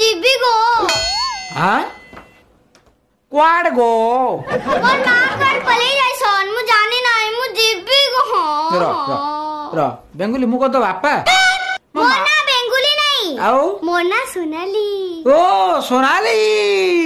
GB गो हाँ क्वाड गो और ना कर पले जाय सन मु जाने नाई मु जीबी गो र र र ବେଙ୍ଗୁଲି ମୁଁ କଣ ତୋ ବାପା मोना बेंगुली नहीं ଆଉ मोना सोनाली ଓ ସୋନାଲି